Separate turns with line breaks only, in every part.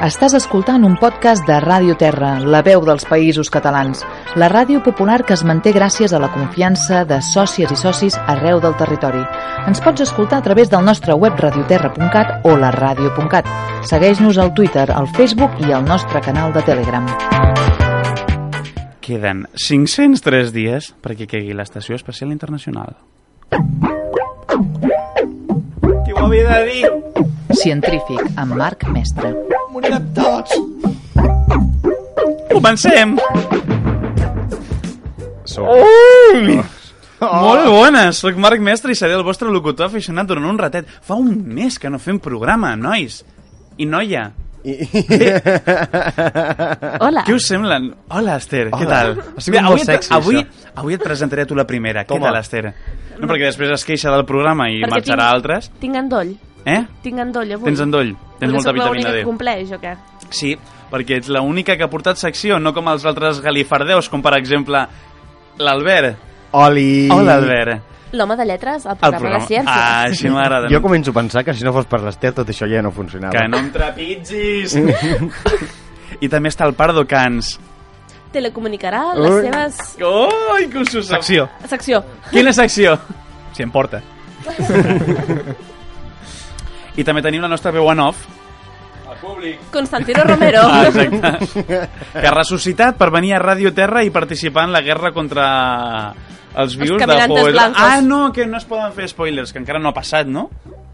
Estàs escoltant un podcast de Ràdio Terra, la veu dels països catalans, la ràdio popular que es manté gràcies a la confiança de sòcies i socis arreu del territori. Ens pots escoltar a través del nostre web radioterra.cat o la ràdio.cat. Segueix-nos al Twitter, al Facebook i al nostre canal de Telegram.
Queden 503 dies perquè quegui l'Estació Espacial Internacional. Qui ho havia de dir?
Científic, amb Marc Mestre.
Morirem tots! Comencem!
Sort.
Ui!
Oh.
Molt bones! Soc Marc Mestre i seré el vostre locutor aficionat durant un ratet. Fa un mes que no fem programa, nois! I noia!
Hola.
Què us semblen? Hola, Esther, què
Hola.
tal?
Ha sigut molt
avui, et-
sexy,
avui,
això.
avui et presentaré a tu la primera. Què
Toma.
tal, Esther? No, perquè després es queixa del programa i
Perquè
marxarà a altres.
Tinc endoll.
Eh?
Tinc endoll avui.
Tens endoll. Tens
Perquè
molta
sóc la
vitamina
única
D.
que compleix, o què?
Sí, perquè ets l'única que ha portat secció, no com els altres galifardeus, com per exemple l'Albert.
Oli!
Hola, Albert.
L'home de lletres al programa, de ciència.
Ah, així m'agrada.
Jo començo a pensar que si no fos per l'Ester tot això ja no funcionava.
Que no em trapitzis! I també està el Pardo Cans.
Telecomunicarà les
Ui.
seves...
Ai, que us ho sap.
Secció,
Secció.
Quina secció?
si em porta.
I també tenim la nostra veu en off.
Constantino Romero.
Ah, exacte. que ha ressuscitat per venir a Ràdio Terra i participar en la guerra contra els vius de
caminantes
Power.
blancos.
Ah, no, que no es poden fer spoilers, que encara no ha passat, no?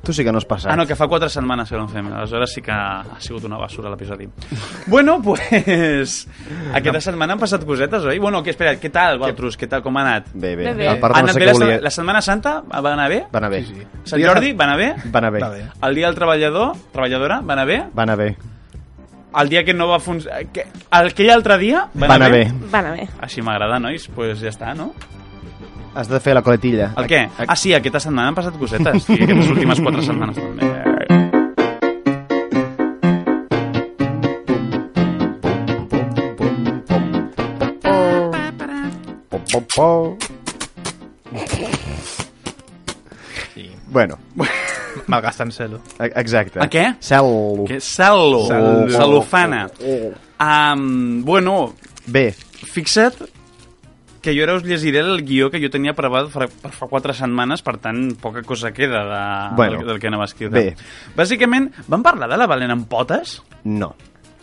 Tu sí que no has passat.
Ah, no, que fa 4 setmanes que no en fem. Aleshores sí que ha sigut una basura l'episodi. bueno, pues... Aquesta setmana han passat cosetes, oi? Bueno, que, espera, què tal, Valtrus? Què tal, com ha anat?
Bé, bé.
Bé, bé.
El Pardo
ha
no
anat
sé
bé
què
la,
volia...
se- la Setmana Santa? Va anar bé?
Va anar bé.
Sí, sí.
Sant Jordi? Va anar bé?
Va anar bé.
Va bé.
El dia del treballador? Treballadora? Va anar bé?
Va anar bé.
El dia que no va funcionar... que- Aquell altre dia?
Va anar bé.
Va anar bé.
Així m'agrada, nois. Doncs pues ja està, no?
Has de fer la coletilla.
El què?
A-
Ah, sí, aquesta setmana han passat cosetes. I aquestes últimes quatre setmanes també.
Po, po, po. Bueno,
Malgastant-se-lo.
e- exacte.
A què?
Cel.
Que salo,
Salo.
salofana. Um, bueno,
Bé,
fixa't que jo ara us llegiré el guió que jo tenia preparat fa, per fa quatre setmanes, per tant, poca cosa queda de,
Bueno,
del, del que anava a escriure.
bé.
Bàsicament, vam parlar de la balena amb potes?
no,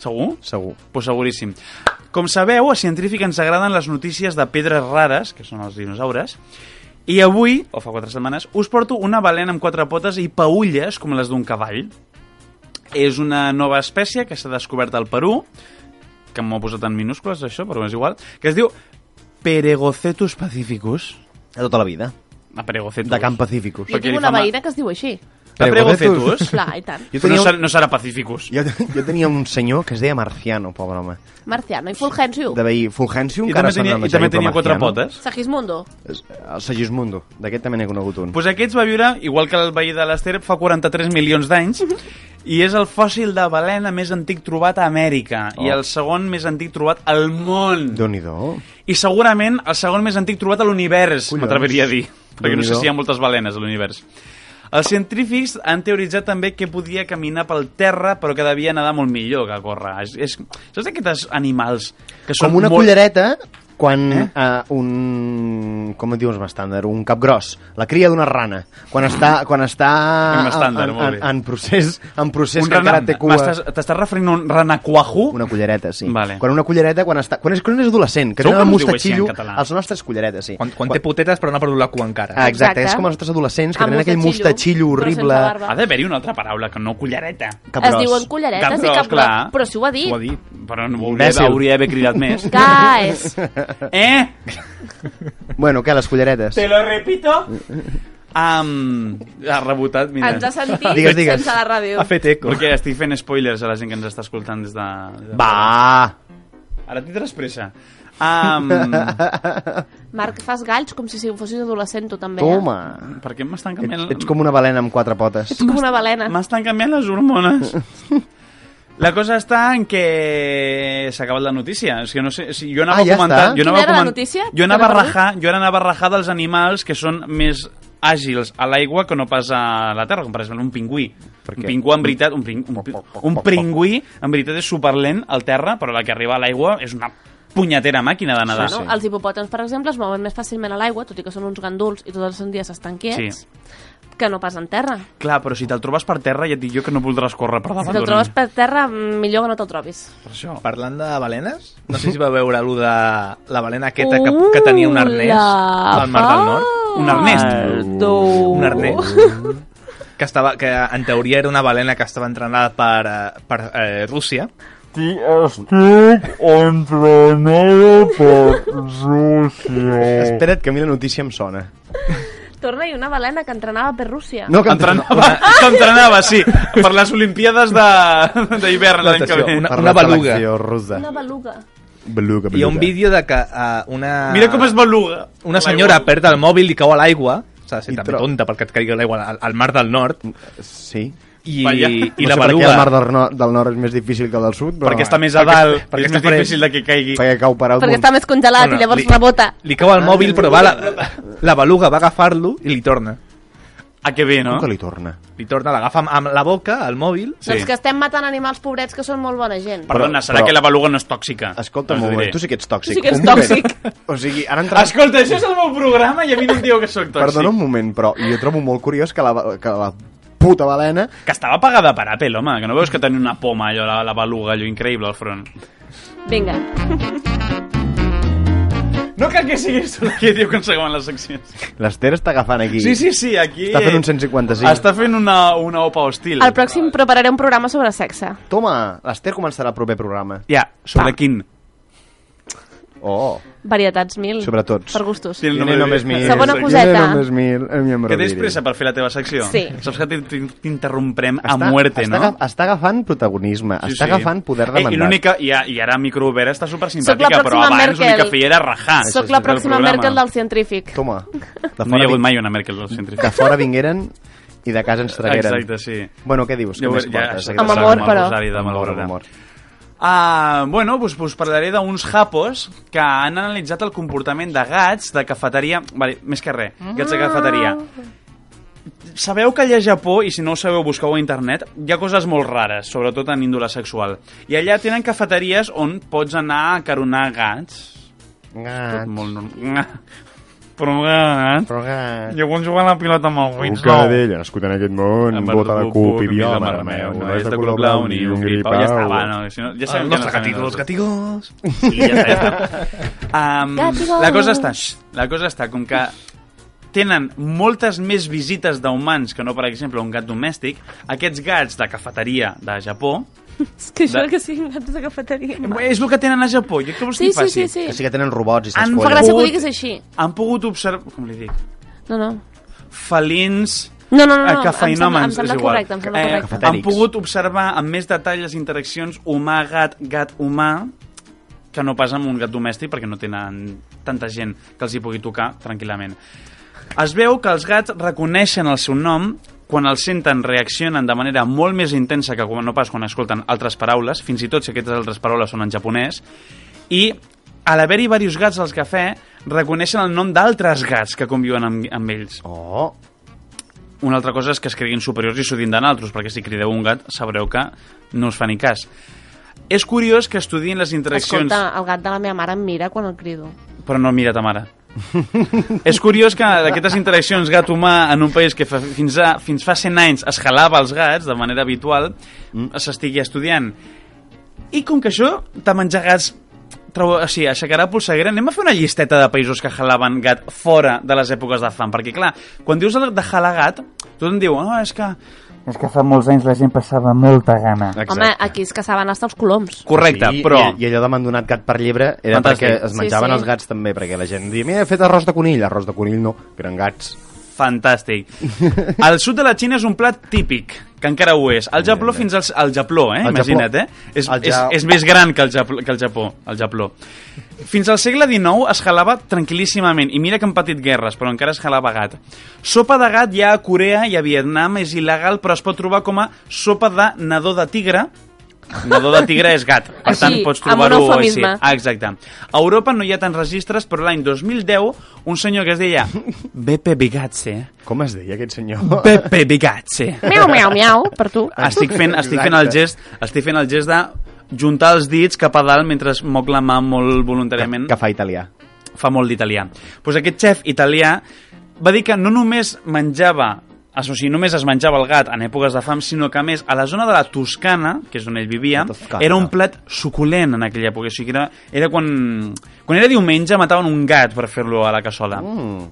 Segur?
segur.
Pues seguríssim. Com sabeu, a Científic ens agraden les notícies de pedres rares, que són els dinosaures, i avui, o fa quatre setmanes, us porto una balena amb quatre potes i paulles com les d'un cavall. És una nova espècie que s'ha descobert al Perú, que m'ho ha posat en minúscules, això, però és igual, que es diu Peregocetus pacificus.
De tota la vida.
A Peregocetus.
De Camp Pacificus.
Perquè
Jo
li
tinc una
fa mal.
veïna que es diu així.
A Peregocetus.
Clar, i tant.
Jo
Però
tenia,
no, serà,
un,
no serà pacificus.
jo, jo tenia un senyor que es deia Marciano, pobre home.
Marciano i Fulgencio.
De veí Fulgencio,
I
encara
també
se'n
tenia,
va
i també
menjar,
tenia
però
quatre
Marciano.
potes.
Sagismundo.
És- eh? El Segismundo, d'aquest també n'he conegut un.
Pues aquest va viure, igual que el veí de l'Ester, fa 43 milions d'anys, i és el fòssil de balena més antic trobat a Amèrica,
Oh.
i el segon més antic trobat al món,
Déu-n'hi-do.
i segurament el segon més antic trobat a l'univers,
Collons.
m'atreviria a dir, perquè no sé
Déu-n'hi-do.
si hi ha moltes balenes a l'univers. Els científics han teoritzat també que podia caminar pel terra, però que devia nedar molt millor que córrer. És, és, saps aquests animals que són
Com una
molt...
cullereta quan eh? uh, un... com et dius amb estàndard? Un cap gros. La cria d'una rana. Quan està, quan està
Amb estàndard,
en,
molt
en,
bé.
en, procés, en procés
Un
que
rana...
encara té cua.
M'estàs- T'estàs referint a un ranacuajo?
Una cullereta, sí.
Vale.
Quan una cullereta, quan, està, quan, és, quan és adolescent, que
Segur
tenen
que
el
no ho diu així en
mostatxillo,
català.
els nostres culleretes, sí.
Quan, quan té putetes però no ha perdut la cua encara.
Ah, exacte,
Exacte.
és com els nostres adolescents que
Amb
tenen aquell mostatxillo
mostatxillo, però sense
horrible.
barba.
Ha d'haver-hi una altra paraula, que no cullereta.
Cap
Es
gros.
diuen culleretes
Capgros,
i capgros.
clar.
Però si ho ha dit.
Ho ha dit.
Però no hauria,
Imbècil.
hauria d'haver cridat més.
Guys.
eh?
Bueno, què, les culleretes?
Te lo repito. Um, ha rebotat, mira.
Ens ha sentit
Digues, digues.
sense la ràdio.
Ha fet eco.
Perquè estic fent spoilers a la gent que ens està escoltant des de... de...
Va!
Ara tindràs pressa. Um,
Marc, fas galls com si fossis adolescent tu també. eh?
Toma!
per què m'estan canviant...
Ets, ets com una balena amb quatre potes.
Ets eh? com una balena.
M'estan canviant les hormones. La cosa està en que s'ha acabat la notícia. És que no sé, si jo anava
Ah, ja
a comentar...
està.
Jo anava
Quina era
a
la
coment-
notícia?
Jo anava a
Que no
rajar, jo anava a rajar dels animals que són més àgils a l'aigua que no pas a la terra, com per exemple un pingüí.
Per
Un
què?
pingüí en veritat, un, ping, un, pi- un pingüí en veritat és superlent al terra, però la que arriba a l'aigua és una punyetera màquina de nedar.
Sí,
No?
sí.
Els hipopòtams, per exemple, es mouen més fàcilment a l'aigua, tot i que són uns ganduls i tot el seu dia s'estan quiets, que no pas en terra.
Clar, però si te'l trobes per terra ja et dic jo que no voldràs córrer per davant.
Si te'l
d'un-
trobes per terra, mm, millor que no te'l trobis.
Per això.
Oh. Parlant de balenes, no sé si va veure allò de la balena aquesta que, que tenia un arnès al Mar del Nord,
Un arnès.
un
Uh,
arnès, que, estava, que en teoria era una balena que estava entrenada per, eh, per eh, Rússia,
Espera't, que a mi la notícia em sona.
Torna-hi una balena que entrenava per Rússia.
No, que
Entrenava, s'entrenava, sí, per les Olimpiades de- d'hivern l'any que
Natació,
ve.
una-
Per
una
la
beluga.
selecció russa.
Una beluga.
Beluga, beluga.
hi ha un vídeo de que eh, una...
Mira
Ah.
com es beluga.
Una senyora perd el mòbil i cau a l'aigua, s'ha de ser
I
també
tro-
tonta perquè et caigui a l'aigua al, al Mar del Nord,
Sí.
i,
Vaja.
i
no
la
sé per què
beluga...
el mar del, no del nord és més difícil que el del sud, però...
Perquè està més a dalt, perquè
perquè
és més
està fred.
difícil de que caigui.
Perquè cau per al
Perquè està més congelat
Bueno,
i llavors
li-
rebota.
Li cau al mòbil, però va la, la beluga va a agafar-lo i li torna.
A que ve, no?
No? Que li torna.
Li torna, l'agafa amb, amb la boca, al mòbil,
Sí.
Doncs que estem matant animals pobrets que són molt bona gent.
Perdona,
Però-
serà
però-
que la beluga no és tòxica.
Escolta,
Us ho
un moment,
Doncs diré.
tu sí que ets tòxic.
Tu sí que ets
Un moment.
tòxic.
O sigui, ara entra...
Escolta, això és el meu programa i a mi no em diu que sóc tòxic.
Perdona un moment, però jo trobo molt curiós que la, que la puta balena...
Que estava pagada per Apple, home, que no veus que tenia una poma, allò, la, la beluga, allò increïble al front.
Vinga.
No cal que siguis tu qui diu que ens acaben les seccions.
L'Ester està agafant aquí.
Sí, sí, sí, aquí...
Està fent un 155.
Està fent una, una opa hostil.
Al pròxim prepararé un programa sobre sexe.
Toma, l'Ester començarà el proper programa.
Ja, sobre
Va.
quin?
Oh,
Varietats mil.
Sobre tots.
Per gustos.
Sí, el
jo
nombre
n'he només
de-
mil.
Segona
Jo n'he
coseta.
només mil. eh, mi em
Que tens
rediré.
pressa per fer la teva secció?
Sí.
Saps que t'in- t'in- t'interromprem a muerte,
està,
no?
aga- Està agafant protagonisme,
Sí, sí.
està agafant poder de
Eh, I,
mandat.
l'única- i, a- i ara microobera està
Sóc
supersimpàtica,
la
però
pròxima
abans
Merkel.
l'únic que feia era rajar.
Soc la
del
pròxima
programa.
Merkel del científic.
Toma, de
No hi ha
fora,
hagut
vi-
mai una Merkel del científic.
de fora vingueren i de casa ens tragueren.
Exacte, sí.
Bueno, què dius?
Ja
què
ho-
més
ja-
portes?
ja-
Amb amor,
amb
però.
rosari de
Amb amor,
Malgrat.
amb amor.
Ah, bueno, us, us parlaré d'uns japos que han analitzat el comportament de gats de cafeteria... Vale, més que res,
Ah.
gats de cafeteria. Sabeu que allà a Japó, i si no ho sabeu busqueu a internet, hi ha coses molt rares, sobretot en índole sexual. I allà tenen cafeteries on pots anar a caronar gats. Tot
Gats,
molt normal. Però eh? gats...
però gats.
Llavors jugar a la pilota amb el
Un
Wins,
cadell nascut en aquest món,
Em
bota de
perdut,
cup i
pupil de
bioma,
mare
mare meva,
meva,
no és de color blau ni un gripau.
Ja està, va, no, si no, ja sabem
el
que no
nostre gatito,
sabem
los gatigos...
Sí, ja està, ja està. Um,
Gatigos.
la cosa està, xxt, la cosa està com que tenen moltes més visites d'humans que no, per exemple, un gat domèstic. Aquests gats de cafeteria de Japó...
És que
De-
això que siguin gats de cafeteria.
És el que tenen a Japó, jo què vols que
Sí,
hi
sí,
faci?
sí, sí.
Que sí que tenen robots i
Em
Em
Polla.
fa
s'escollen.
gràcia que ho
Pogut.
diguis així.
Han pogut observar... Com li dic?
No, no.
Felins...
No, no, no,
eh,
no,
cafeïnòmens,
em sembla- em sembla
és igual. Eh,
correcte, em sembla correcte.
han pogut observar amb més detall les interaccions humà-gat, gat-humà, que no pas amb un gat domèstic, perquè no tenen tanta gent que els hi pugui tocar tranquil·lament. Es veu que els gats reconeixen el seu nom quan el senten reaccionen de manera molt més intensa que quan- no pas quan escolten altres paraules, fins i tot si aquestes altres paraules són en japonès, i a l'haver-hi diversos gats al cafè reconeixen el nom d'altres gats que conviuen amb, amb ells.
Oh,
Una altra cosa és que es creguin superiors i s'ho din d'altres, perquè si crideu un gat sabreu que no us fa ni cas. És curiós que estudien les interaccions...
Escolta, el gat de la meva mare em mira quan el crido.
Però no mira ta mare. és curiós que d'aquestes interaccions gat-humà en un país que fa, fins, a, fins fa 100 anys es jalava els gats de manera habitual,
Mm.
s'estigui estudiant. I com que això de menjar gats trau, o sigui, aixecarà polseguera, anem a fer una llisteta de països que jalaven gat fora de les èpoques de fam, perquè clar, quan dius de de jalar gat, tothom diu, no, és que...
És que fa molts anys la gent passava molta gana.
exacte.
Home, aquí es caçaven hasta els coloms.
Correcte,
I,
però...
I, I allò de m'han donat gat per llibre era
Fantàstic.
perquè es
Sí,
menjaven
sí.
els gats també, perquè la gent diu, mira, he fet arròs de conill, arròs de conill no, que eren gats.
Fantàstic. Al sud de la Xina és un plat típic, que encara ho és. El japló fins al, al japló, eh?
El japló.
Imagina't, eh? És,
El
és,
ja-
és més gran que el, Japó, que el Japó, el japló. Fins al segle XIX es jalava tranquil·líssimament, i mira que han patit guerres, però encara es jalava gat. Sopa de gat ja a Corea i a Vietnam és il·legal, però es pot trobar com a sopa de nadó de tigre, Nadó de tigre és gat, per tant
Així,
pots
amb un
trobar-ho així.
eufemisme.
Ah, exacte. A Europa no hi ha tants registres, però l'any 2010 un senyor que es deia Beppe Bigazze,
Com es deia aquest senyor?
Pepe Bigazze.
Miau, miau, miau, per tu.
Estic fent, estic fent el gest, estic fent el gest de juntar els dits cap a dalt mentre es moc la mà molt voluntàriament.
Que fa italià.
fa molt d'italià. Pues aquest xef italià va dir que no només menjava o sigui, només es menjava el gat en èpoques de fam, sinó que, a més, a la zona de la Toscana, que és on ell vivia,
La Toscana.
era un plat suculent en aquella època. O sigui, que era, era quan, quan era diumenge, mataven un gat per fer-lo a la cassola.
Mm.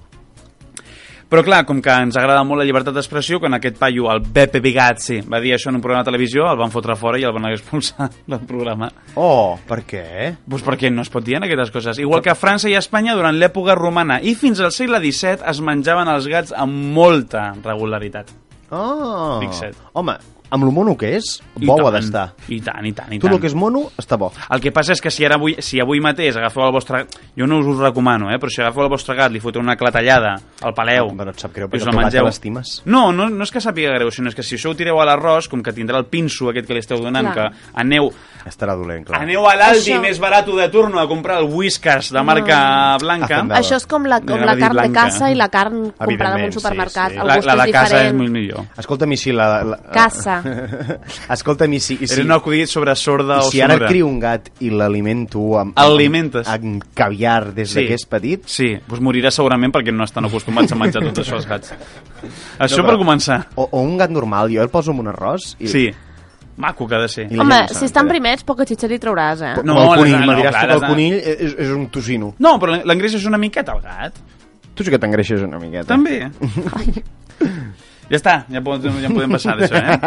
Però clar, com que ens agrada molt la llibertat d'expressió, quan aquest paio, el Beppe Bigazzi, va dir això en un programa de televisió, el van fotre fora i el van expulsar del programa.
Oh, per què?
Pues perquè no es pot dir en aquestes coses. Igual que a França i a Espanya durant l'època romana i fins al segle XVII es menjaven els gats amb molta regularitat.
Oh.
Fixa't.
Home, amb lo mono que és,
I
bo ha
tant,
d'estar.
I tant, i tant, i
Tu
tant.
el que és mono, està bo.
El que passa és que si, ara avui, si avui mateix agafeu el vostre... Jo no us ho recomano, eh? però si agafeu el vostre gat, li foteu una clatellada al paleu...
Però et sap greu,
i
perquè
us la
tu gat te
mengeu.
l'estimes.
No, no, no és que sàpiga greu, sinó és que si això ho tireu a l'arròs, com que tindrà el pinso aquest que li esteu donant,
Clar.
que aneu,
Estarà dolent, clar.
aneu a l'Aldi
Això-
més barat de turno a comprar el Whiskas de marca blanca...
Hacendado.
Això és com la, com la
Anava a dir
carn de
blanca.
caça i la carn comprada en
Evidentment,
un
sí,
supermercat.
sí.
El
La,
gust
la de
és
casa és
diferent.
molt millor.
Escolta'm, i si la... la...
Caça.
Escolta'm, i si... I
Sí.
si...
Era un acudit sobre sorda
I
o
si ara
sonora.
crio un gat i l'alimento amb,
Alimentes.
amb, amb caviar des sí. que és petit,
Sí, doncs morirà segurament perquè no estan acostumats a menjar tot això els gats. Això
No,
no, per
però-
començar.
o, o un gat normal, jo el poso amb un arròs i,
Sí. Maco que ha de ser.
I la
Home,
gent ho
si
sap,
estan
eh?
primets, poca xitxer hi trauràs, eh?
Com
No,
no, el
les-
conill,
no,
me diràs
clar,
tu que el
les-
conill eh, és, és un tocino.
No, però l'engreix és una miqueta el gat.
Tu sí que t'engreixes una miqueta.
També. ja està, ja, po- ja en podem passar d'això, eh?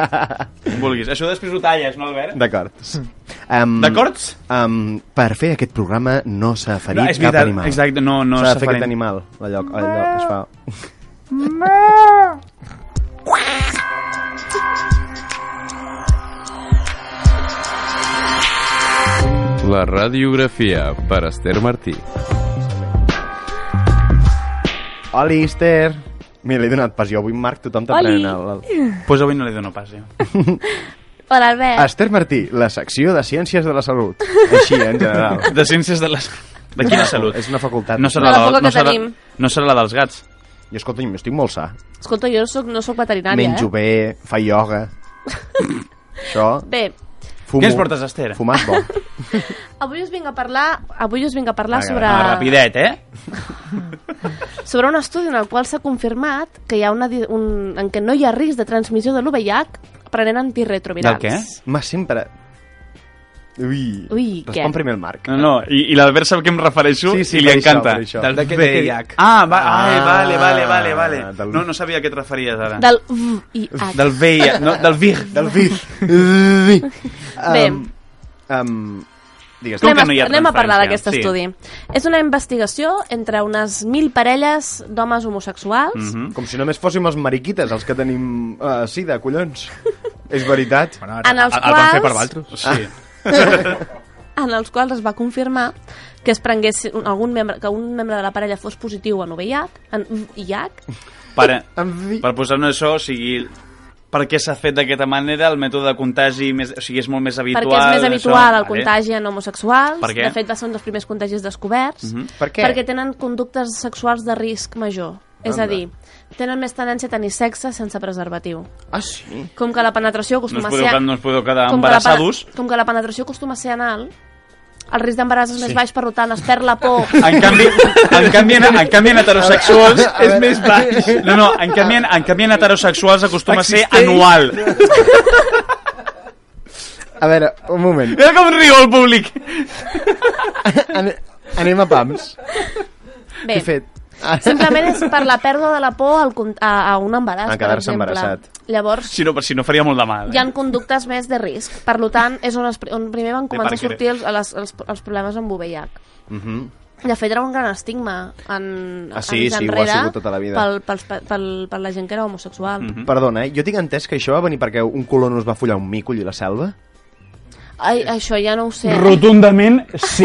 Com vulguis. Això després ho talles, no, Albert?
D'acord. Um,
D'acord?
Um, per fer aquest programa no s'ha ferit
No, és veritat,
cap animal.
exacte, no- no
s'ha
s'ha
de fer
ferit.
aquest animal, allò, allò que es fa...
La radiografia per Esther Martí.
Oli, Esther! Mira, li he donat pas jo avui, Marc, tothom t'aprèn.
Oli!
El...
Doncs pues avui no li dono pas, jo.
Hola, Albert.
Esther Martí, la secció de Ciències de la Salut. Així, en general.
De ciències de les... De quina salut?
És una facultat.
No serà,
De la
del-
poca
no,
que
serà,
tenim.
no serà la dels gats.
Jo, escolta, jo estic molt sa.
Escolta, jo soc, no sóc veterinària,
Menjo
eh?
bé, fa ioga... Això,
Bé,
fumo...
Què ens portes, Esther?
Fumar és bo.
avui us vinc a parlar, avui us vinc a parlar
Vinga,
sobre...
Ah, rapidet, eh?
sobre un estudi en el qual s'ha confirmat que hi ha una, di- un, en què no hi ha risc de transmissió de l'UVH prenent antirretrovirals.
Del què?
Ma, sempre... Ui,
Ui,
respon
què?
primer el Marc.
No, no, i, i l'Albert sap que em refereixo
Sí, sí,
i li
per això,
encanta.
per això.
Del
De què-
VIH.
de què- Ah, va, ai,
Ah,
vale, vale, vale, vale.
del-
No, no sabia a què et referies ara.
Del VIH.
Del VIH, no, del VIH.
Del vir. Ui.
Bé.
Um, um, digues,
Com que
Anem,
no hi ha
a- anem a
transferència?
parlar d'aquest
Sí.
estudi. És una investigació entre unes mil parelles d'homes homosexuals
Mhm.
Com si només fóssim els mariquites, els que tenim uh, sida, collons. És veritat.
Bueno,
En els
el, el van fer per
quals-
Valtros.
Sí.
en els quals es va confirmar que es prengués un, algun membre, que un membre de la parella fos positiu en VIH, en VIH
Pare,
Em-
per posar-nos això, o sigui, per què s'ha fet d'aquesta manera, el mètode de contagi més, o sigui, és molt més habitual.
perquè és més habitual
això,
el contagi en homosexuals.
Per què?
De fet, va ser un dels primers contagis descoberts.
Mhm. Per què?
Perquè tenen conductes sexuals de risc major. És a dir, tenen més tendència a tenir sexe sense preservatiu.
Ah, sí?
Com que la
No
penetració
us
acostuma a
podeu,
ser...
quedar- no us podeu quedar
com que, la, pene-
embarassados.
com que la penetració acostuma a ser anal, el risc d'embaràs és més baix, per tant, es perd la por.
En canvi, en canvi, en, en canvi en heterosexuals
A veure, a
és
veure.
més baix. No, no, en canvi, en, en canvi en heterosexuals acostuma a ser
Existeix.
anual.
A veure, un moment.
Mira com riu el públic.
Ane- Anem a pams.
Bé,
He fet. Ah,
simplement és per la pèrdua de la por al, con- a, a un embaràs,
A quedar-se
per exemple.
embarassat.
Llavors,
Si no, si no faria molt de mal. eh?
hi han conductes més de risc. Per lo tant, és on, es, on primer van començar a
perquè-
sortir els, els, els, els problemes amb VIH.
Mhm.
De fet, era un gran estigma en,
Ah, sí,
anys
sí, ho ha
enrere
sigut tota la vida.
Pel, pels, pel, pel, per la gent que era homosexual. Mm -hmm.
Perdona, eh? jo tinc entès que això va venir perquè un colon us va follar un mico i la selva?
Ai, això ja no ho sé.
Rotundament, sí.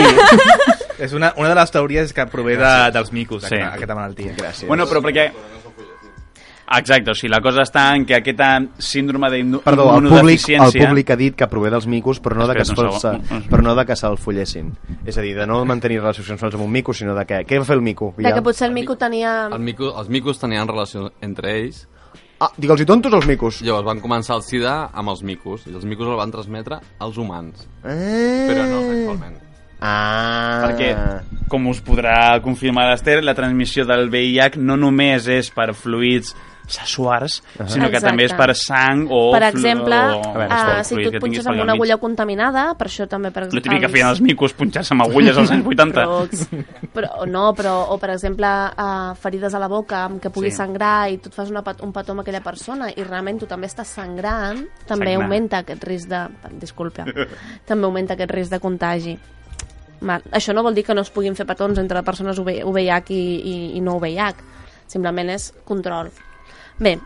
És una, una de les teories que prové de, dels micos,
Sí.
sí. aquesta, aquesta malaltia.
Gràcies.
bueno, però perquè... Exacte, o sigui, la cosa està en que aquesta síndrome
Perdó, el públic, el
d'immunodeficiència...
públic ha dit que prové dels micos, però no, de que es
Espera't un
fos-
segon. Un- un-
però no de que se'l follessin. És a dir, de no mantenir relacions sexuals amb un mico, sinó de que... Què va fer el mico?
De que potser el mico tenia...
El mico, els micos tenien relació entre ells.
Ah, digue'ls-hi tontos els micos.
Llavors van començar el sida amb els micos, i els micos el van transmetre als humans,
Eh...
però no sexualment.
Ah...
Perquè, com us podrà confirmar l'Ester, la transmissió del VIH no només és per fluids sexuals, uh -huh. sinó que
Exacte.
també és per sang o...
Per
flu-
exemple,
o-
veure,
uh,
o
si
fluid
tu
que tinguis
et punxes
pel
amb una
mig.
agulla contaminada, per això també... Per,
La típica
els-
feien els micos punxar-se amb agulles als anys 80.
Però, però no, però, o per exemple, uh, ferides a la boca amb que pugui
Sí.
sí. sangrar i tu et fas una, pat- un petó amb aquella persona i realment tu també estàs sangrant, també
Sagnant.
augmenta aquest risc de... Disculpa. també augmenta aquest risc de contagi. Mal. Això no vol dir que no es puguin fer petons entre persones UV UVH i, i, i no UVH. Simplement és control. Bé,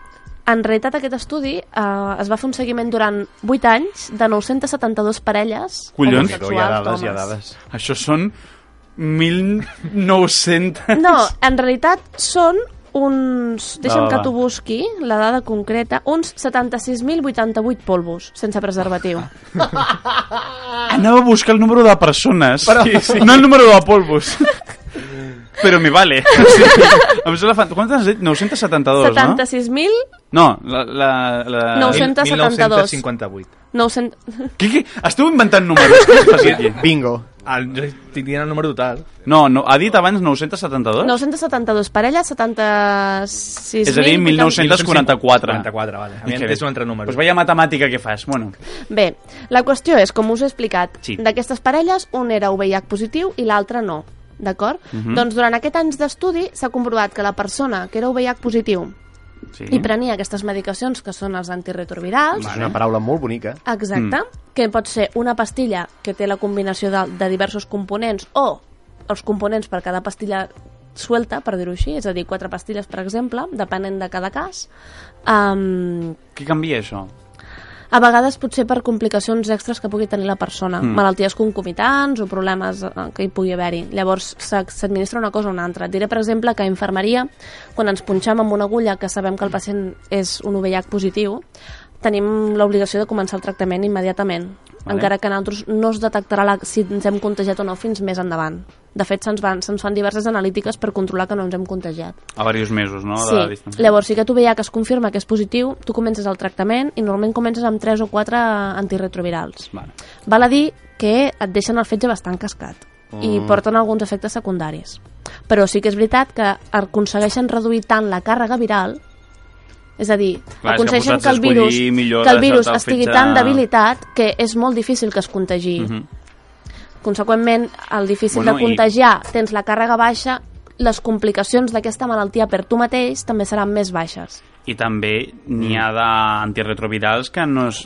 en realitat aquest estudi eh, es va fer un seguiment durant 8 anys de 972 parelles
Collons.
Déu, Hi ha
homosexuals
dades, hi ha
d'homes.
dades.
Això són 1.900...
No, en realitat són uns... Deixa'm
va,
que
va.
t'ho busqui, la dada concreta, uns 76.088 polvos, sense preservatiu.
Ah,
Ah.
Anava a buscar el número de persones, però... sí, sí. no el número de polvos. però me vale. Sí. Em sembla fan... Quantes has dit? 972,
76.972.
no? No, la... la, la...
900.
1958.
Què, què? Esteu inventant números. Què us passa aquí?
Bingo.
El, jo tenia el número total.
No, no, ha dit abans 972?
972 parelles, 76.000...
És a dir, 1944.
44, vale.
Que
Havia
bé.
entès un altre número.
Pues Doncs vaya matemàtica que fas. Bueno,
Bé, la qüestió és, com us he explicat,
Sí.
sí. d'aquestes parelles, un era VIH positiu i l'altre no, d'acord?
Mhm.
Doncs durant aquest anys d'estudi s'ha comprovat que la persona que era VIH positiu
sí.
i prenia aquestes medicacions que són els antirretrovirals,
És una paraula molt bonica.
Exacte, mm. que pot ser una pastilla que té la combinació de, de diversos components o els components per cada pastilla suelta, per dir-ho així, és a dir, quatre pastilles, per exemple, depenent de cada cas. Um,
Què canvia això?
a vegades potser per complicacions extres que pugui tenir la persona, mm. malalties concomitants o problemes eh, que hi pugui haver-hi. Llavors s'ha- s'administra una cosa o una altra. Et diré, per exemple, que a infermeria, quan ens punxam amb una agulla que sabem que el pacient és un OVH positiu, tenim l'obligació de començar el tractament immediatament,
Vale.
vale. encara que en altres no es detectarà la, si ens hem contagiat o no fins més endavant. De fet, se'ns van- se'ns fan diverses analítiques per controlar que no ens hem contagiat.
A diversos mesos, no? De
Sí,
distància.
llavors sí que tu veia que es confirma que és positiu, tu comences el tractament i normalment comences amb 3 o 4 antirretrovirals.
Vale.
Val a dir que et deixen el fetge bastant cascat i
Mm.
porten alguns efectes secundaris. Però sí que és veritat que aconsegueixen reduir tant la càrrega viral és a dir,
Clar, és que
aconsegueixen
vosaltres
que el virus,
escollir millor
que el
deixar-te
virus
el
estigui
fetge- Mhm.
tan debilitat que és molt difícil que es contagi. Conseqüentment, el difícil
Bueno,
de
i-
contagiar, tens la càrrega baixa, les complicacions d'aquesta malaltia per tu mateix també seran més baixes.
I també n'hi ha d'antirretrovirals que no és...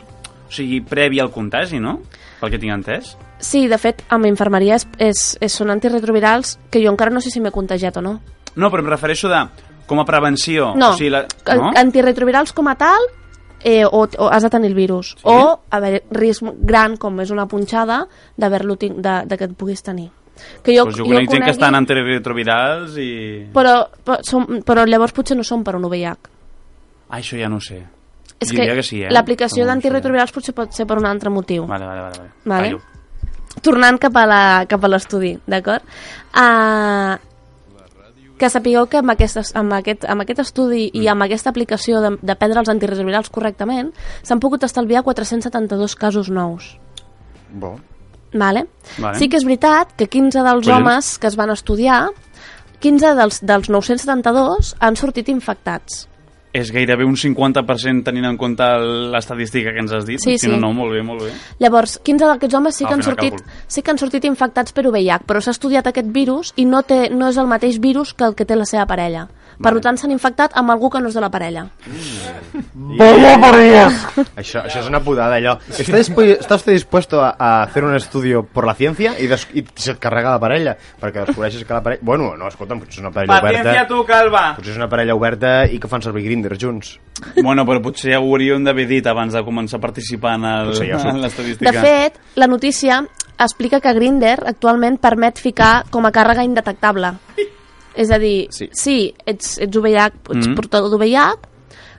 O sigui, previ al contagi, no? Pel que tinc entès.
Sí, de fet, amb infermeria és, és, és, són antirretrovirals que jo encara no sé si m'he contagiat o no.
No, però em refereixo de... Com a prevenció.
No,
O sigui, la...
no?
no?
antirretrovirals com a tal eh, o, o has de tenir el virus sí. o haver risc gran com és una punxada d'haver-lo tin- de, de que et puguis tenir que jo,
Pues jo conec gent
conegui,
que estan antirretrovirals i...
però, però, som, però llavors potser no són per un VIH
Ah, això ja no ho sé.
és
Jo
que,
diria que sí, eh?
l'aplicació
Però no ho sé.
d'antirretrovirals potser pot ser per un altre motiu
Vale, vale, vale. vale.
Vale.
Fallo.
tornant cap a la- cap a l'estudi, d'acord? Uh, que sapigueu que amb, aquestes, amb, aquest, amb aquest estudi
Mm.
i amb aquesta aplicació de, de prendre els antirretrovirals correctament s'han pogut estalviar 472 casos nous.
Bo.
Vale?
Vale.
Sí que és veritat que 15 dels
Collons.
homes que es van estudiar, 15 dels, dels 972 han sortit infectats.
És gairebé un 50% tenint en compte l'estadística que ens has dit.
Sí,
si No,
sí.
no, molt bé, molt bé.
Llavors, 15 d'aquests homes sí
Al
que, han
final
sortit,
càlcul.
sí que han sortit infectats per VIH, però s'ha estudiat aquest virus i no, té, no és el mateix virus que el que té la seva parella. Per tant, s'han infectat amb algú que no és de la parella.
Vaya por Dios.
Això, això és una putada, allò. ¿Está, dispu ¿Está usted dispuesto a, a hacer un estudio por la ciencia? I, des- i se't carrega la parella, perquè descobreixes que la parella... Bueno, no, escolta'm, potser és una parella oberta...
tu, calva!
Potser és una parella oberta i que fan servir grinders junts.
Bueno, però potser ho hauríem d'haver dit abans de començar a participar en el-
Potser ja ho sé.
en l'estadística.
De fet, la notícia explica que Grindr actualment permet ficar com a càrrega indetectable. És a dir,
Sí.
sí, ets, ets VIH, ets
Mhm.
portador d'OVH,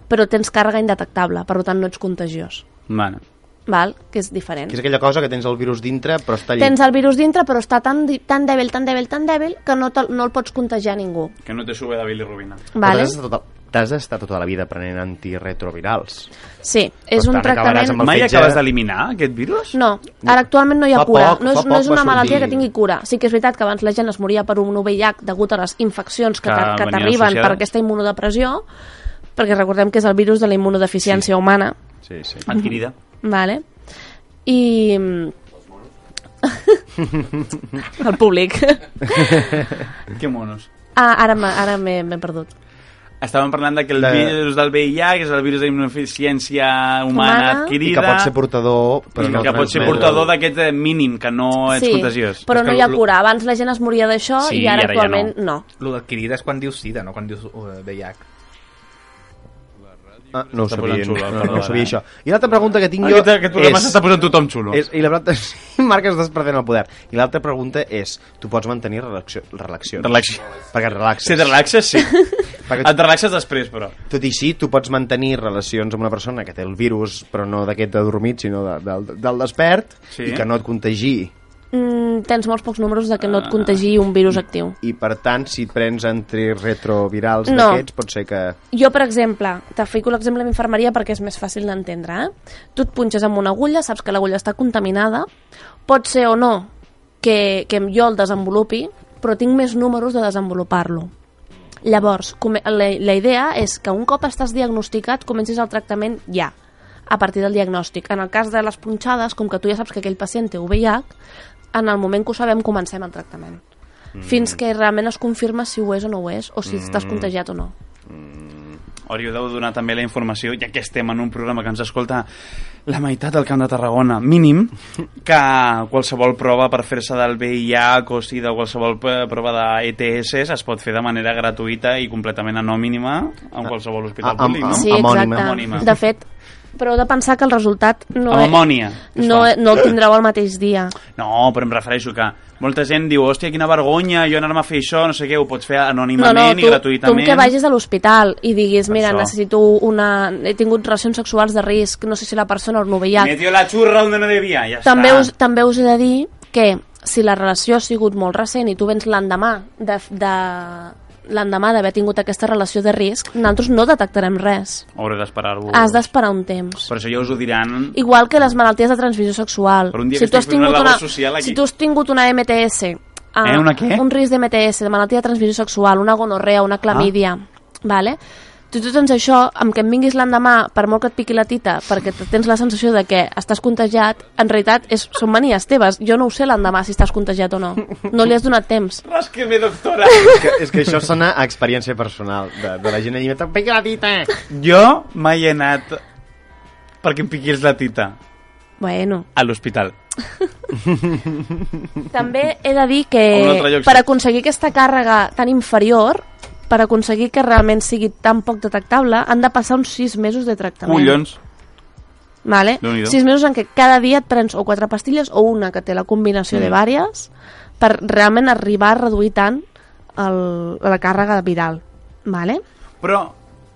però tens càrrega indetectable, per tant no ets contagiós.
Bueno.
Val? Que és diferent.
Que és aquella cosa que tens el virus dintre, però està allà.
Tens el virus dintre, però està tan, di- tan dèbil, tan dèbil, tan dèbil, que no, te, no el pots contagiar a ningú.
Que no te sube de bilirubina.
Vale?
T'has estat, tota, t'has estat tota la vida prenent antirretrovirals.
Sí, és
Per
un
tant, acabaràs
tractament...
amb el
Mai
fetge-
acabes d'eliminar aquest virus?
No, ara actualment no hi ha
Fa
cura.
poc-
no,
fa
és, no
poc
és
va
una malaltia
sortir-
que tingui cura. Sí que és veritat que abans la gent es moria per un VIH degut a les infeccions que,
Que
t'a- que
venien
t'arriben per
associades.
aquesta immunodepressió, perquè recordem que és el virus de la immunodeficiència sí. humana,
Sí, sí.
Adquirida.
vale? i... mm, el públic.
Que monos.
ah, ara m'he- ara m'he m'he perdut.
Estàvem parlant de que el
De-
virus del VIH, que és el virus d'immunodeficiència humana,
Humana.
adquirida...
I que pot ser portador, però
i
no
que pot ser
transmet.
portador d'aquest eh, mínim, que no ets contagiós.
però
És
no
que
hi ha
lo-
cura. Abans la gent es moria d'això
Sí,
i ara,
ara ja
actualment no.
Lo d'adquirida és quan dius sida, no quan dius eh, VIH.
Ah, no ho
Està
sabia,
posant xulo, eh.
no,
perdona.
no ho sabia això. I l'altra pregunta que tinc jo
Aquest, aquest programa
és...
s'està posant tothom xulo.
És, I la pregunta... Sí, Marc, estàs perdent el poder. I l'altra pregunta és, tu pots mantenir relaxio... relacions?
Relaxi-
Perquè et relaxes.
Si et relaxes, sí.
Perquè-
Et relaxes després, però.
Tot i així, tu pots mantenir relacions amb una persona que té el virus, però no d'aquest adormit, sinó de, del, del despert,
Sí.
i que no et contagi.
Mm, tens molts pocs números de que no et contagi un virus actiu.
I, per tant, si prens antiretrovirals
No.
d'aquests, pot ser que...
Jo, per exemple, te fico l'exemple d'infermeria perquè és més fàcil d'entendre, eh? Tu et punxes amb una agulla, saps que l'agulla està contaminada, pot ser o no que, que jo el desenvolupi, però tinc més números de desenvolupar-lo. Llavors, com- la, la idea és que un cop estàs diagnosticat, comencis el tractament ja, a partir del diagnòstic. En el cas de les punxades, com que tu ja saps que aquell pacient té VIH, en el moment que ho sabem comencem el tractament. Fins que realment es confirma si ho és o no ho és, o si estàs contagiat o no.
Hauríeu de donar també la informació, ja que estem en un programa que ens escolta la meitat del Camp de Tarragona, mínim, que qualsevol prova per fer-se del VIH o SIDA o qualsevol eh, prova d'ETS es pot fer de manera gratuïta i completament anònima en qualsevol hospital
Ah, amb-
públic, no?
Sí,
Am- amònima.
exacte.
Amònima.
De fet, però heu de pensar que el resultat no, eh, e-
Amb amònia. es
no, e-
fa.
no el tindreu el mateix dia.
No, però em refereixo que molta gent diu hòstia, quina vergonya, jo anar-me a fer això, no sé què, ho pots fer
No, no,
anònimament
tu,
i
tu
gratuïtament.
que vagis a l'hospital i diguis, mira,
Això.
necessito una... he tingut relacions sexuals de risc, no sé si la persona o no ho veia.
Me dio la xurra on no devia, ja
També
està.
us, també us he de dir que si la relació ha sigut molt recent i tu vens l'endemà de, de l'endemà d'haver tingut aquesta relació de risc, nosaltres no detectarem res.
Hauré d'esperar-vos.
Has d'esperar un temps.
Però això ja us ho diran...
Igual que les malalties de transmissió sexual.
Per un dia
si
que
tu has
estic fent una
tingut
labor
una,
social aquí.
si tu has tingut una MTS, eh,
una què?
un risc de MTS, de malaltia de transmissió sexual, una gonorrea, una clamídia, ah. vale? Tu, tu tens això, amb que em vinguis l'endemà, per molt que et piqui la tita, perquè te- tens la sensació de que estàs contagiat, en realitat és, són manies teves. Jo no ho sé l'endemà si estàs contagiat o no. No li has donat temps.
Rasqueme, doctora!
És que, és que això sona a experiència personal de, de la gent allà, "Te'n pica la tita!
jo mai he anat perquè em piqués la tita
Bueno.
a l'hospital.
També he de dir
A un altre
que
lloc,
per
sí.
aconseguir aquesta càrrega tan inferior, per aconseguir que realment sigui tan poc detectable, han de passar uns 6 mesos de tractament.
Collons.
Vale?
Déu-n'hi-do.
6 mesos en què cada dia et prens o 4 pastilles o una que té la combinació mm. de vàries per realment arribar a reduir tant el, la càrrega viral. Vale?
Però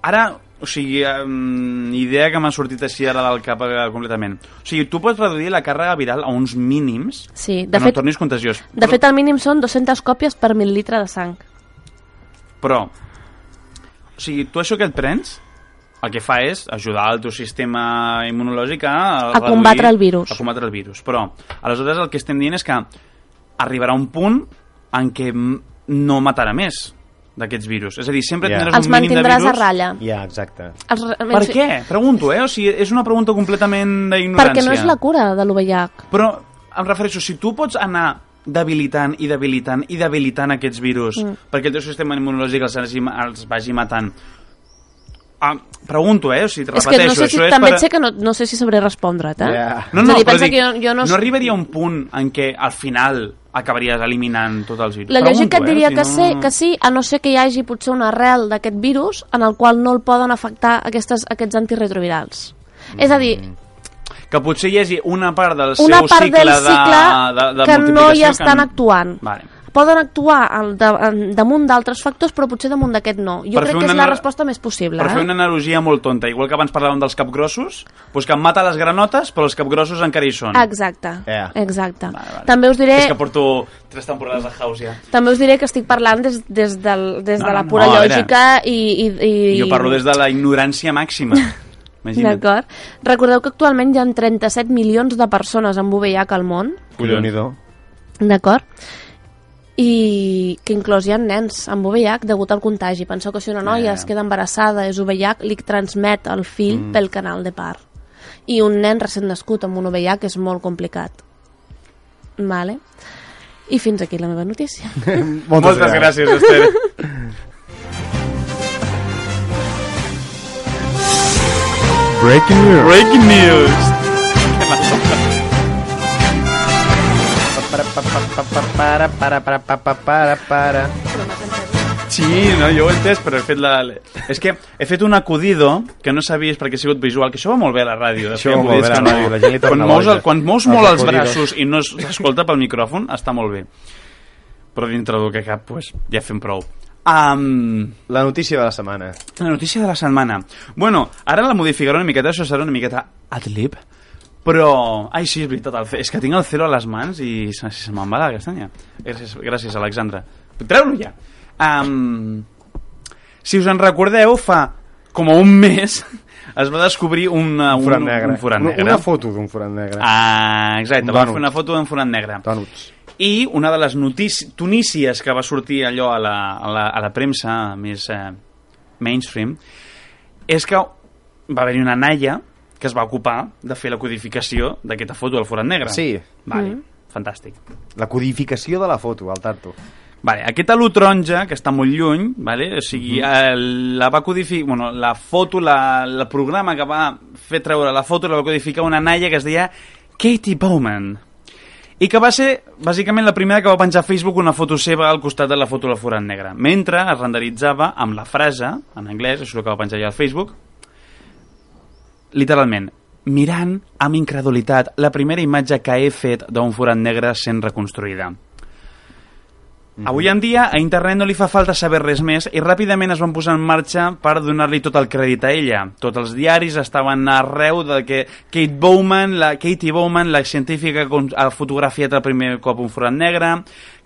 ara, o sigui, um, idea que m'ha sortit així ara del cap eh, completament. O sigui, tu pots reduir la càrrega viral a uns mínims
Sí, de
que no
fet,
et tornis contagiós.
de fet el mínim són 200 còpies per mil·litre de sang.
Però, o sigui, tu això que et prens, el que fa és ajudar el teu sistema immunològic a...
A combatre el virus.
A combatre el virus. Però, aleshores, el que estem dient és que arribarà un punt en què m- no matarà més d'aquests virus. És a dir, sempre
Ja.
tindràs
Els
un mínim de
mantindràs
virus.
a ratlla.
Ja, exacte.
Els, re-
Per què? Pregunto, eh? O sigui, és una pregunta completament d'ignorància.
Perquè no és la cura de l'OVH.
Però em refereixo, si tu pots anar debilitant i debilitant i debilitant aquests virus mm. perquè el teu sistema immunològic els, hagi- els vagi matant ah, pregunto, eh? O sigui, et
És que
repeteixo,
no sé si,
això és
també
per...
et sé que no, no sé si sabré respondre't, eh?
Ja.
No, no,
és a dir,
però
pensa
dic,
que jo, jo no...
no arribaria un punt en què al final acabaries eliminant tots els virus.
La lògica et
Pregunto,
diria
eh?
que,
O
sé,
sigui, no-
que sí, a no ser que hi hagi potser una arrel d'aquest virus en el qual no el poden afectar aquestes, aquests antirretrovirals. És a dir,
Que potser hi hagi una part del
una
Mm. seu
part
cicle,
del cicle
de, de, de
que no hi
multiplicació
estan
que...
actuant.
Vale.
poden actuar al, de, en- damunt d'altres factors, però potser damunt d'aquest no. Jo
Per fer
crec que
una
és la
anal-
resposta més possible.
Per
eh?
fer una analogia molt tonta, igual que abans parlàvem dels capgrossos, doncs que em mata les granotes, però els capgrossos encara hi són.
Exacte,
Eh.
exacte. També us diré...
És que porto tres temporades de House ja.
També us diré que estic parlant des, des, del, des
No,
de la
no, no.
pura
No, a veure.
lògica i, i, i...
Jo parlo des de la ignorància màxima. Imagina't.
D'acord. Recordeu que actualment hi ha 37 milions de persones amb VIH al món,
Collonidor.
d'acord? I que inclòs hi ha nens amb VIH degut al contagi. Penseu que si una noia es queda embarassada, és VIH, li transmet el fill
Eh. Mm.
pel canal de part. I un nen recent nascut amb un VIH és molt complicat. Vale? I fins aquí la meva notícia.
Moltes, Moltes gràcies, Esther.
Breaking news.
Breaking news. Què m'ha
Para, pa, pa, pa, pa, para, para, para, pa, pa, para, para.
Sí, no, jo ho he entès, però he fet la... És que he fet un acudido que no sabies perquè ha sigut visual, que això va molt bé a la ràdio. de
Això
fer
va molt
acudits
bé a
que
la
no-
ràdio, la gent li torna
quan mous, el,
boja.
quan mous
Els
molt els
acudidos.
braços i no es- s'escolta pel micròfon, està molt bé. Però dintre del que cap, pues, ja fem prou. Um...
La notícia de la setmana.
La notícia de la setmana. Bueno, ara la modificaré una miqueta, això serà una miqueta adlib, però... Ai, sí, és veritat, el... ce- és que tinc el cero a les mans i se, se me'n va la castanya. Gràcies, gràcies Alexandra. Treu-lo ja! Um... Si us en recordeu, fa com a un mes es va descobrir una,
Un forat negre.
Un forat
Una-
negre.
Una foto d'un forat negre.
Ah, exacte,
Un
va
dònut.
fer una foto d'un forat negre.
Donuts.
I una de les notícies, tunícies que va sortir allò a la, a la, a la premsa més eh, mainstream és que va haver-hi una naia que es va ocupar de fer la codificació d'aquesta foto del forat negre.
Sí.
Vale,
Mm.
fantàstic.
La codificació de la foto, al tanto.
Vale, aquest alú taronja, que està molt lluny, vale? o sigui, el, la va codificar, bueno, la foto, la, el programa que va fer treure la foto la va codificar una naia que es deia Katie Bowman. I que va ser, bàsicament, la primera que va penjar a Facebook una foto seva al costat de la foto del forat negre. Mentre es renderitzava amb la frase, en anglès, això és el que va penjar ja al Facebook, literalment, mirant amb incredulitat la primera imatge que he fet d'un forat negre sent reconstruïda. Avui en dia a internet no li fa falta saber res més i ràpidament es van posar en marxa per donar-li tot el crèdit a ella. Tots els diaris estaven arreu de que Kate Bowman, la Katie Bowman, la científica que ha fotografiat el primer cop un forat negre,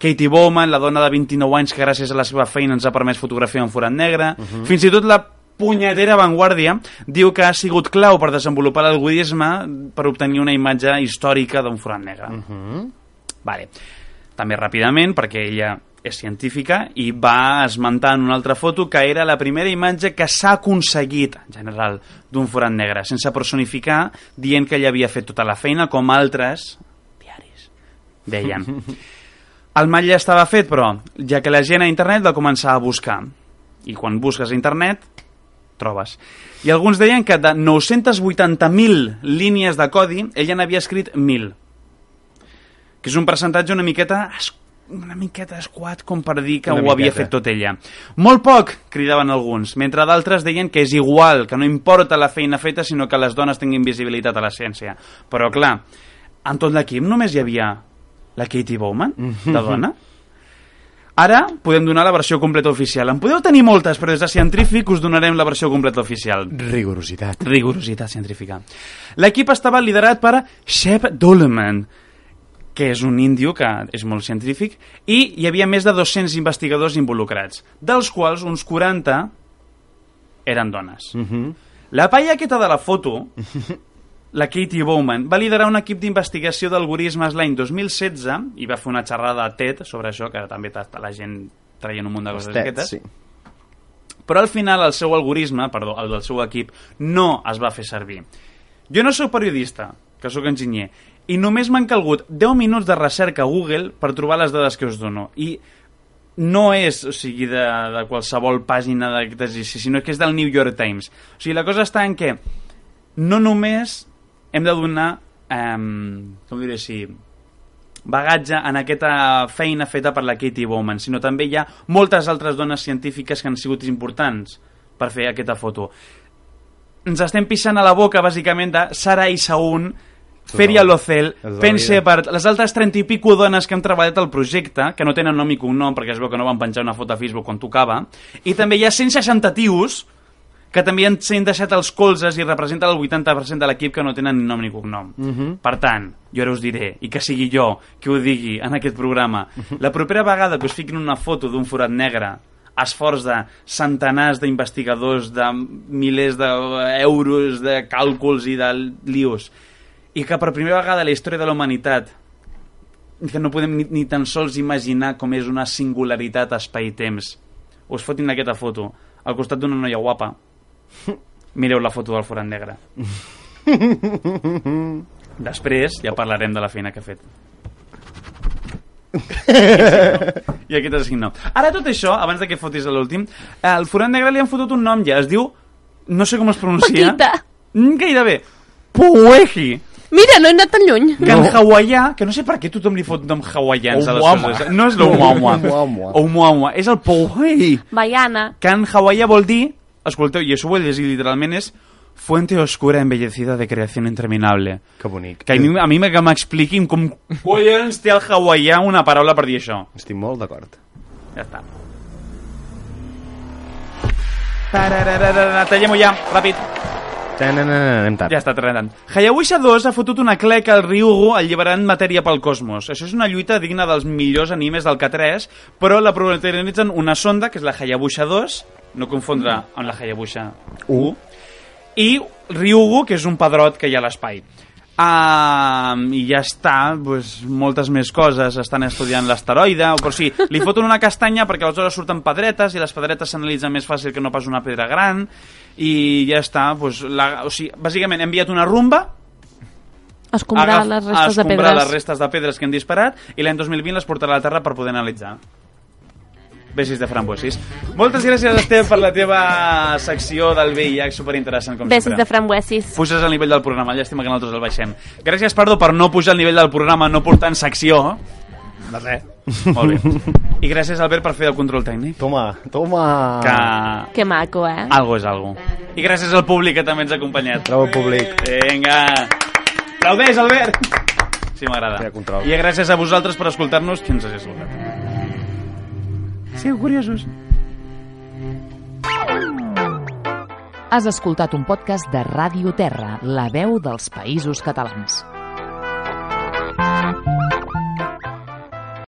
Katie Bowman, la dona de 29 anys que gràcies a la seva feina ens ha permès fotografiar un forat negre, fins i tot la punyetera Vanguardia diu que ha sigut clau per desenvolupar l'algoritme per obtenir una imatge històrica d'un forat negre. Vale. També ràpidament, perquè ella és científica, i va esmentar en una altra foto que era la primera imatge que s'ha aconseguit, en general, d'un forat negre, sense personificar, dient que ella havia fet tota la feina, com altres diaris deien. El mal ja estava fet, però, ja que la gent a internet va començar a buscar. I quan busques a internet, trobes. I alguns deien que de 980.000 línies de codi, ella n'havia escrit 1.000 que és un percentatge una miqueta es- una miqueta esquat com per dir que
Una
ho havia
miqueta.
fet tot ella. Molt poc, cridaven alguns, mentre d'altres deien que és igual, que no importa la feina feta, sinó que les dones tinguin visibilitat a la ciència. Però, clar, en tot l'equip només hi havia la Katie Bowman,
Mhm.
de dona. Ara podem donar la versió completa oficial. En podeu tenir moltes, però des de Científic us donarem la versió completa oficial.
Rigorositat.
Rigorositat científica. L'equip estava liderat per Shep Doleman, que és un índio que és molt científic, i hi havia més de 200 investigadors involucrats, dels quals uns 40 eren dones.
Mhm.
La paia aquesta de la foto, la Katie Bowman, va liderar un equip d'investigació d'algoritmes l'any 2016 i va fer una xerrada a TED sobre això, que també està la gent traient un munt de coses
TEDs,
aquestes.
sí.
Però al final el seu algoritme, perdó, el del seu equip, no es va fer servir. Jo no sóc periodista, que sóc enginyer, i només m'han calgut 10 minuts de recerca a Google per trobar les dades que us dono. I no és, o sigui, de, de qualsevol pàgina d'aquest exercici, sinó que és del New York Times. O sigui, la cosa està en què no només hem de donar, um, com diré així, bagatge en aquesta feina feta per la Katie Bowman, sinó també hi ha moltes altres dones científiques que han sigut importants per fer aquesta foto. Ens estem pixant a la boca, bàsicament, de Sara Isaun, Feria Locel,
És la
Pense
vida.
per les altres 30 i pico dones que han treballat el projecte, que no tenen nom i cognom perquè es veu que no van penjar una foto a Facebook quan tocava, i també hi ha 160 tios que també han, s'han deixat els colzes i representen el 80% de l'equip que no tenen ni nom ni cognom.
Mhm.
Per tant, jo ara us diré, i que sigui jo qui ho digui en aquest programa,
Mhm.
la propera vegada que us fiquin una foto d'un forat negre esforç de centenars d'investigadors, de milers d'euros, de càlculs i de lios, i que per primera vegada a la història de la humanitat que no podem ni, ni tan sols imaginar com és una singularitat a espai-temps. Us fotin aquesta foto al costat d'una noia guapa. Mireu la foto del forat negre. Després ja parlarem de la feina que ha fet. I aquest és el nom. Ara tot això, abans de que fotis a l'últim, al forat negre li han fotut un nom ja. Es diu... No sé com es pronuncia.
Paquita.
Mm, Gairebé. Puehi.
Mira, no he anat tan lluny.
Que en hawaià, que no sé per què tothom li fot nom hawaians a les
Oumuamua.
coses. eh? No és l'oumuamua.
Oumuamua.
Oumuamua. És el pouhei.
Baiana.
Que en hawaià vol dir, escolteu, i això ho he llegit literalment, és fuente oscura embellecida de creación interminable.
Que bonic.
Que a mi, a mi me- que m'expliquin com collons té el hawaià una paraula per dir això.
Estic molt d'acord.
Ja està. Tarararara, Tallem-ho ja, ràpid.
Ta-na-na-na, Anem tard.
Ja està trenant. Hayabusa 2 ha fotut una cleca al Ryugu alliberant matèria pel cosmos. Això és una lluita digna dels millors animes del K3, però la protagonitzen una sonda, que és la Hayabusa 2, no confondre amb la Hayabusa 1, i Ryugu, que és un padrot que hi ha a l'espai. Um, I ja està, doncs, moltes més coses. Estan estudiant l'asteroide, o- però sí, li foten una castanya perquè aleshores surten pedretes i les pedretes s'analitzen més fàcil que no pas una pedra gran i ja està. Doncs, la, o sigui, bàsicament, hem enviat una rumba
Escombrar
agaf-
les restes
a
de
escombrar
pedres.
les restes de pedres que han disparat i l'any 2020 les portarà a la Terra per poder analitzar. Besis de frambuesis. Moltes gràcies, Esteve, per la teva secció del VIH, superinteressant, com
Besis
sempre
de frambuesis.
puges al nivell del programa. Llàstima que nosaltres el baixem. Gràcies, Pardo, per no pujar al nivell del programa, no portant secció.
De res.
Molt bé. I gràcies, Albert, per fer el control tècnic.
Toma, toma.
Que
Ah.
Que maco, eh?
algo és algo. I gràcies al públic que també ens ha acompanyat.
Bravo, públic.
Vinga. Aplaudeix, Albert! Sí, m'agrada.
Feia control.
I gràcies a vosaltres per escoltar-nos. Qui ens hagi escoltat? Sigueu curiosos.
Has escoltat un podcast de Ràdio Terra, la veu dels països catalans.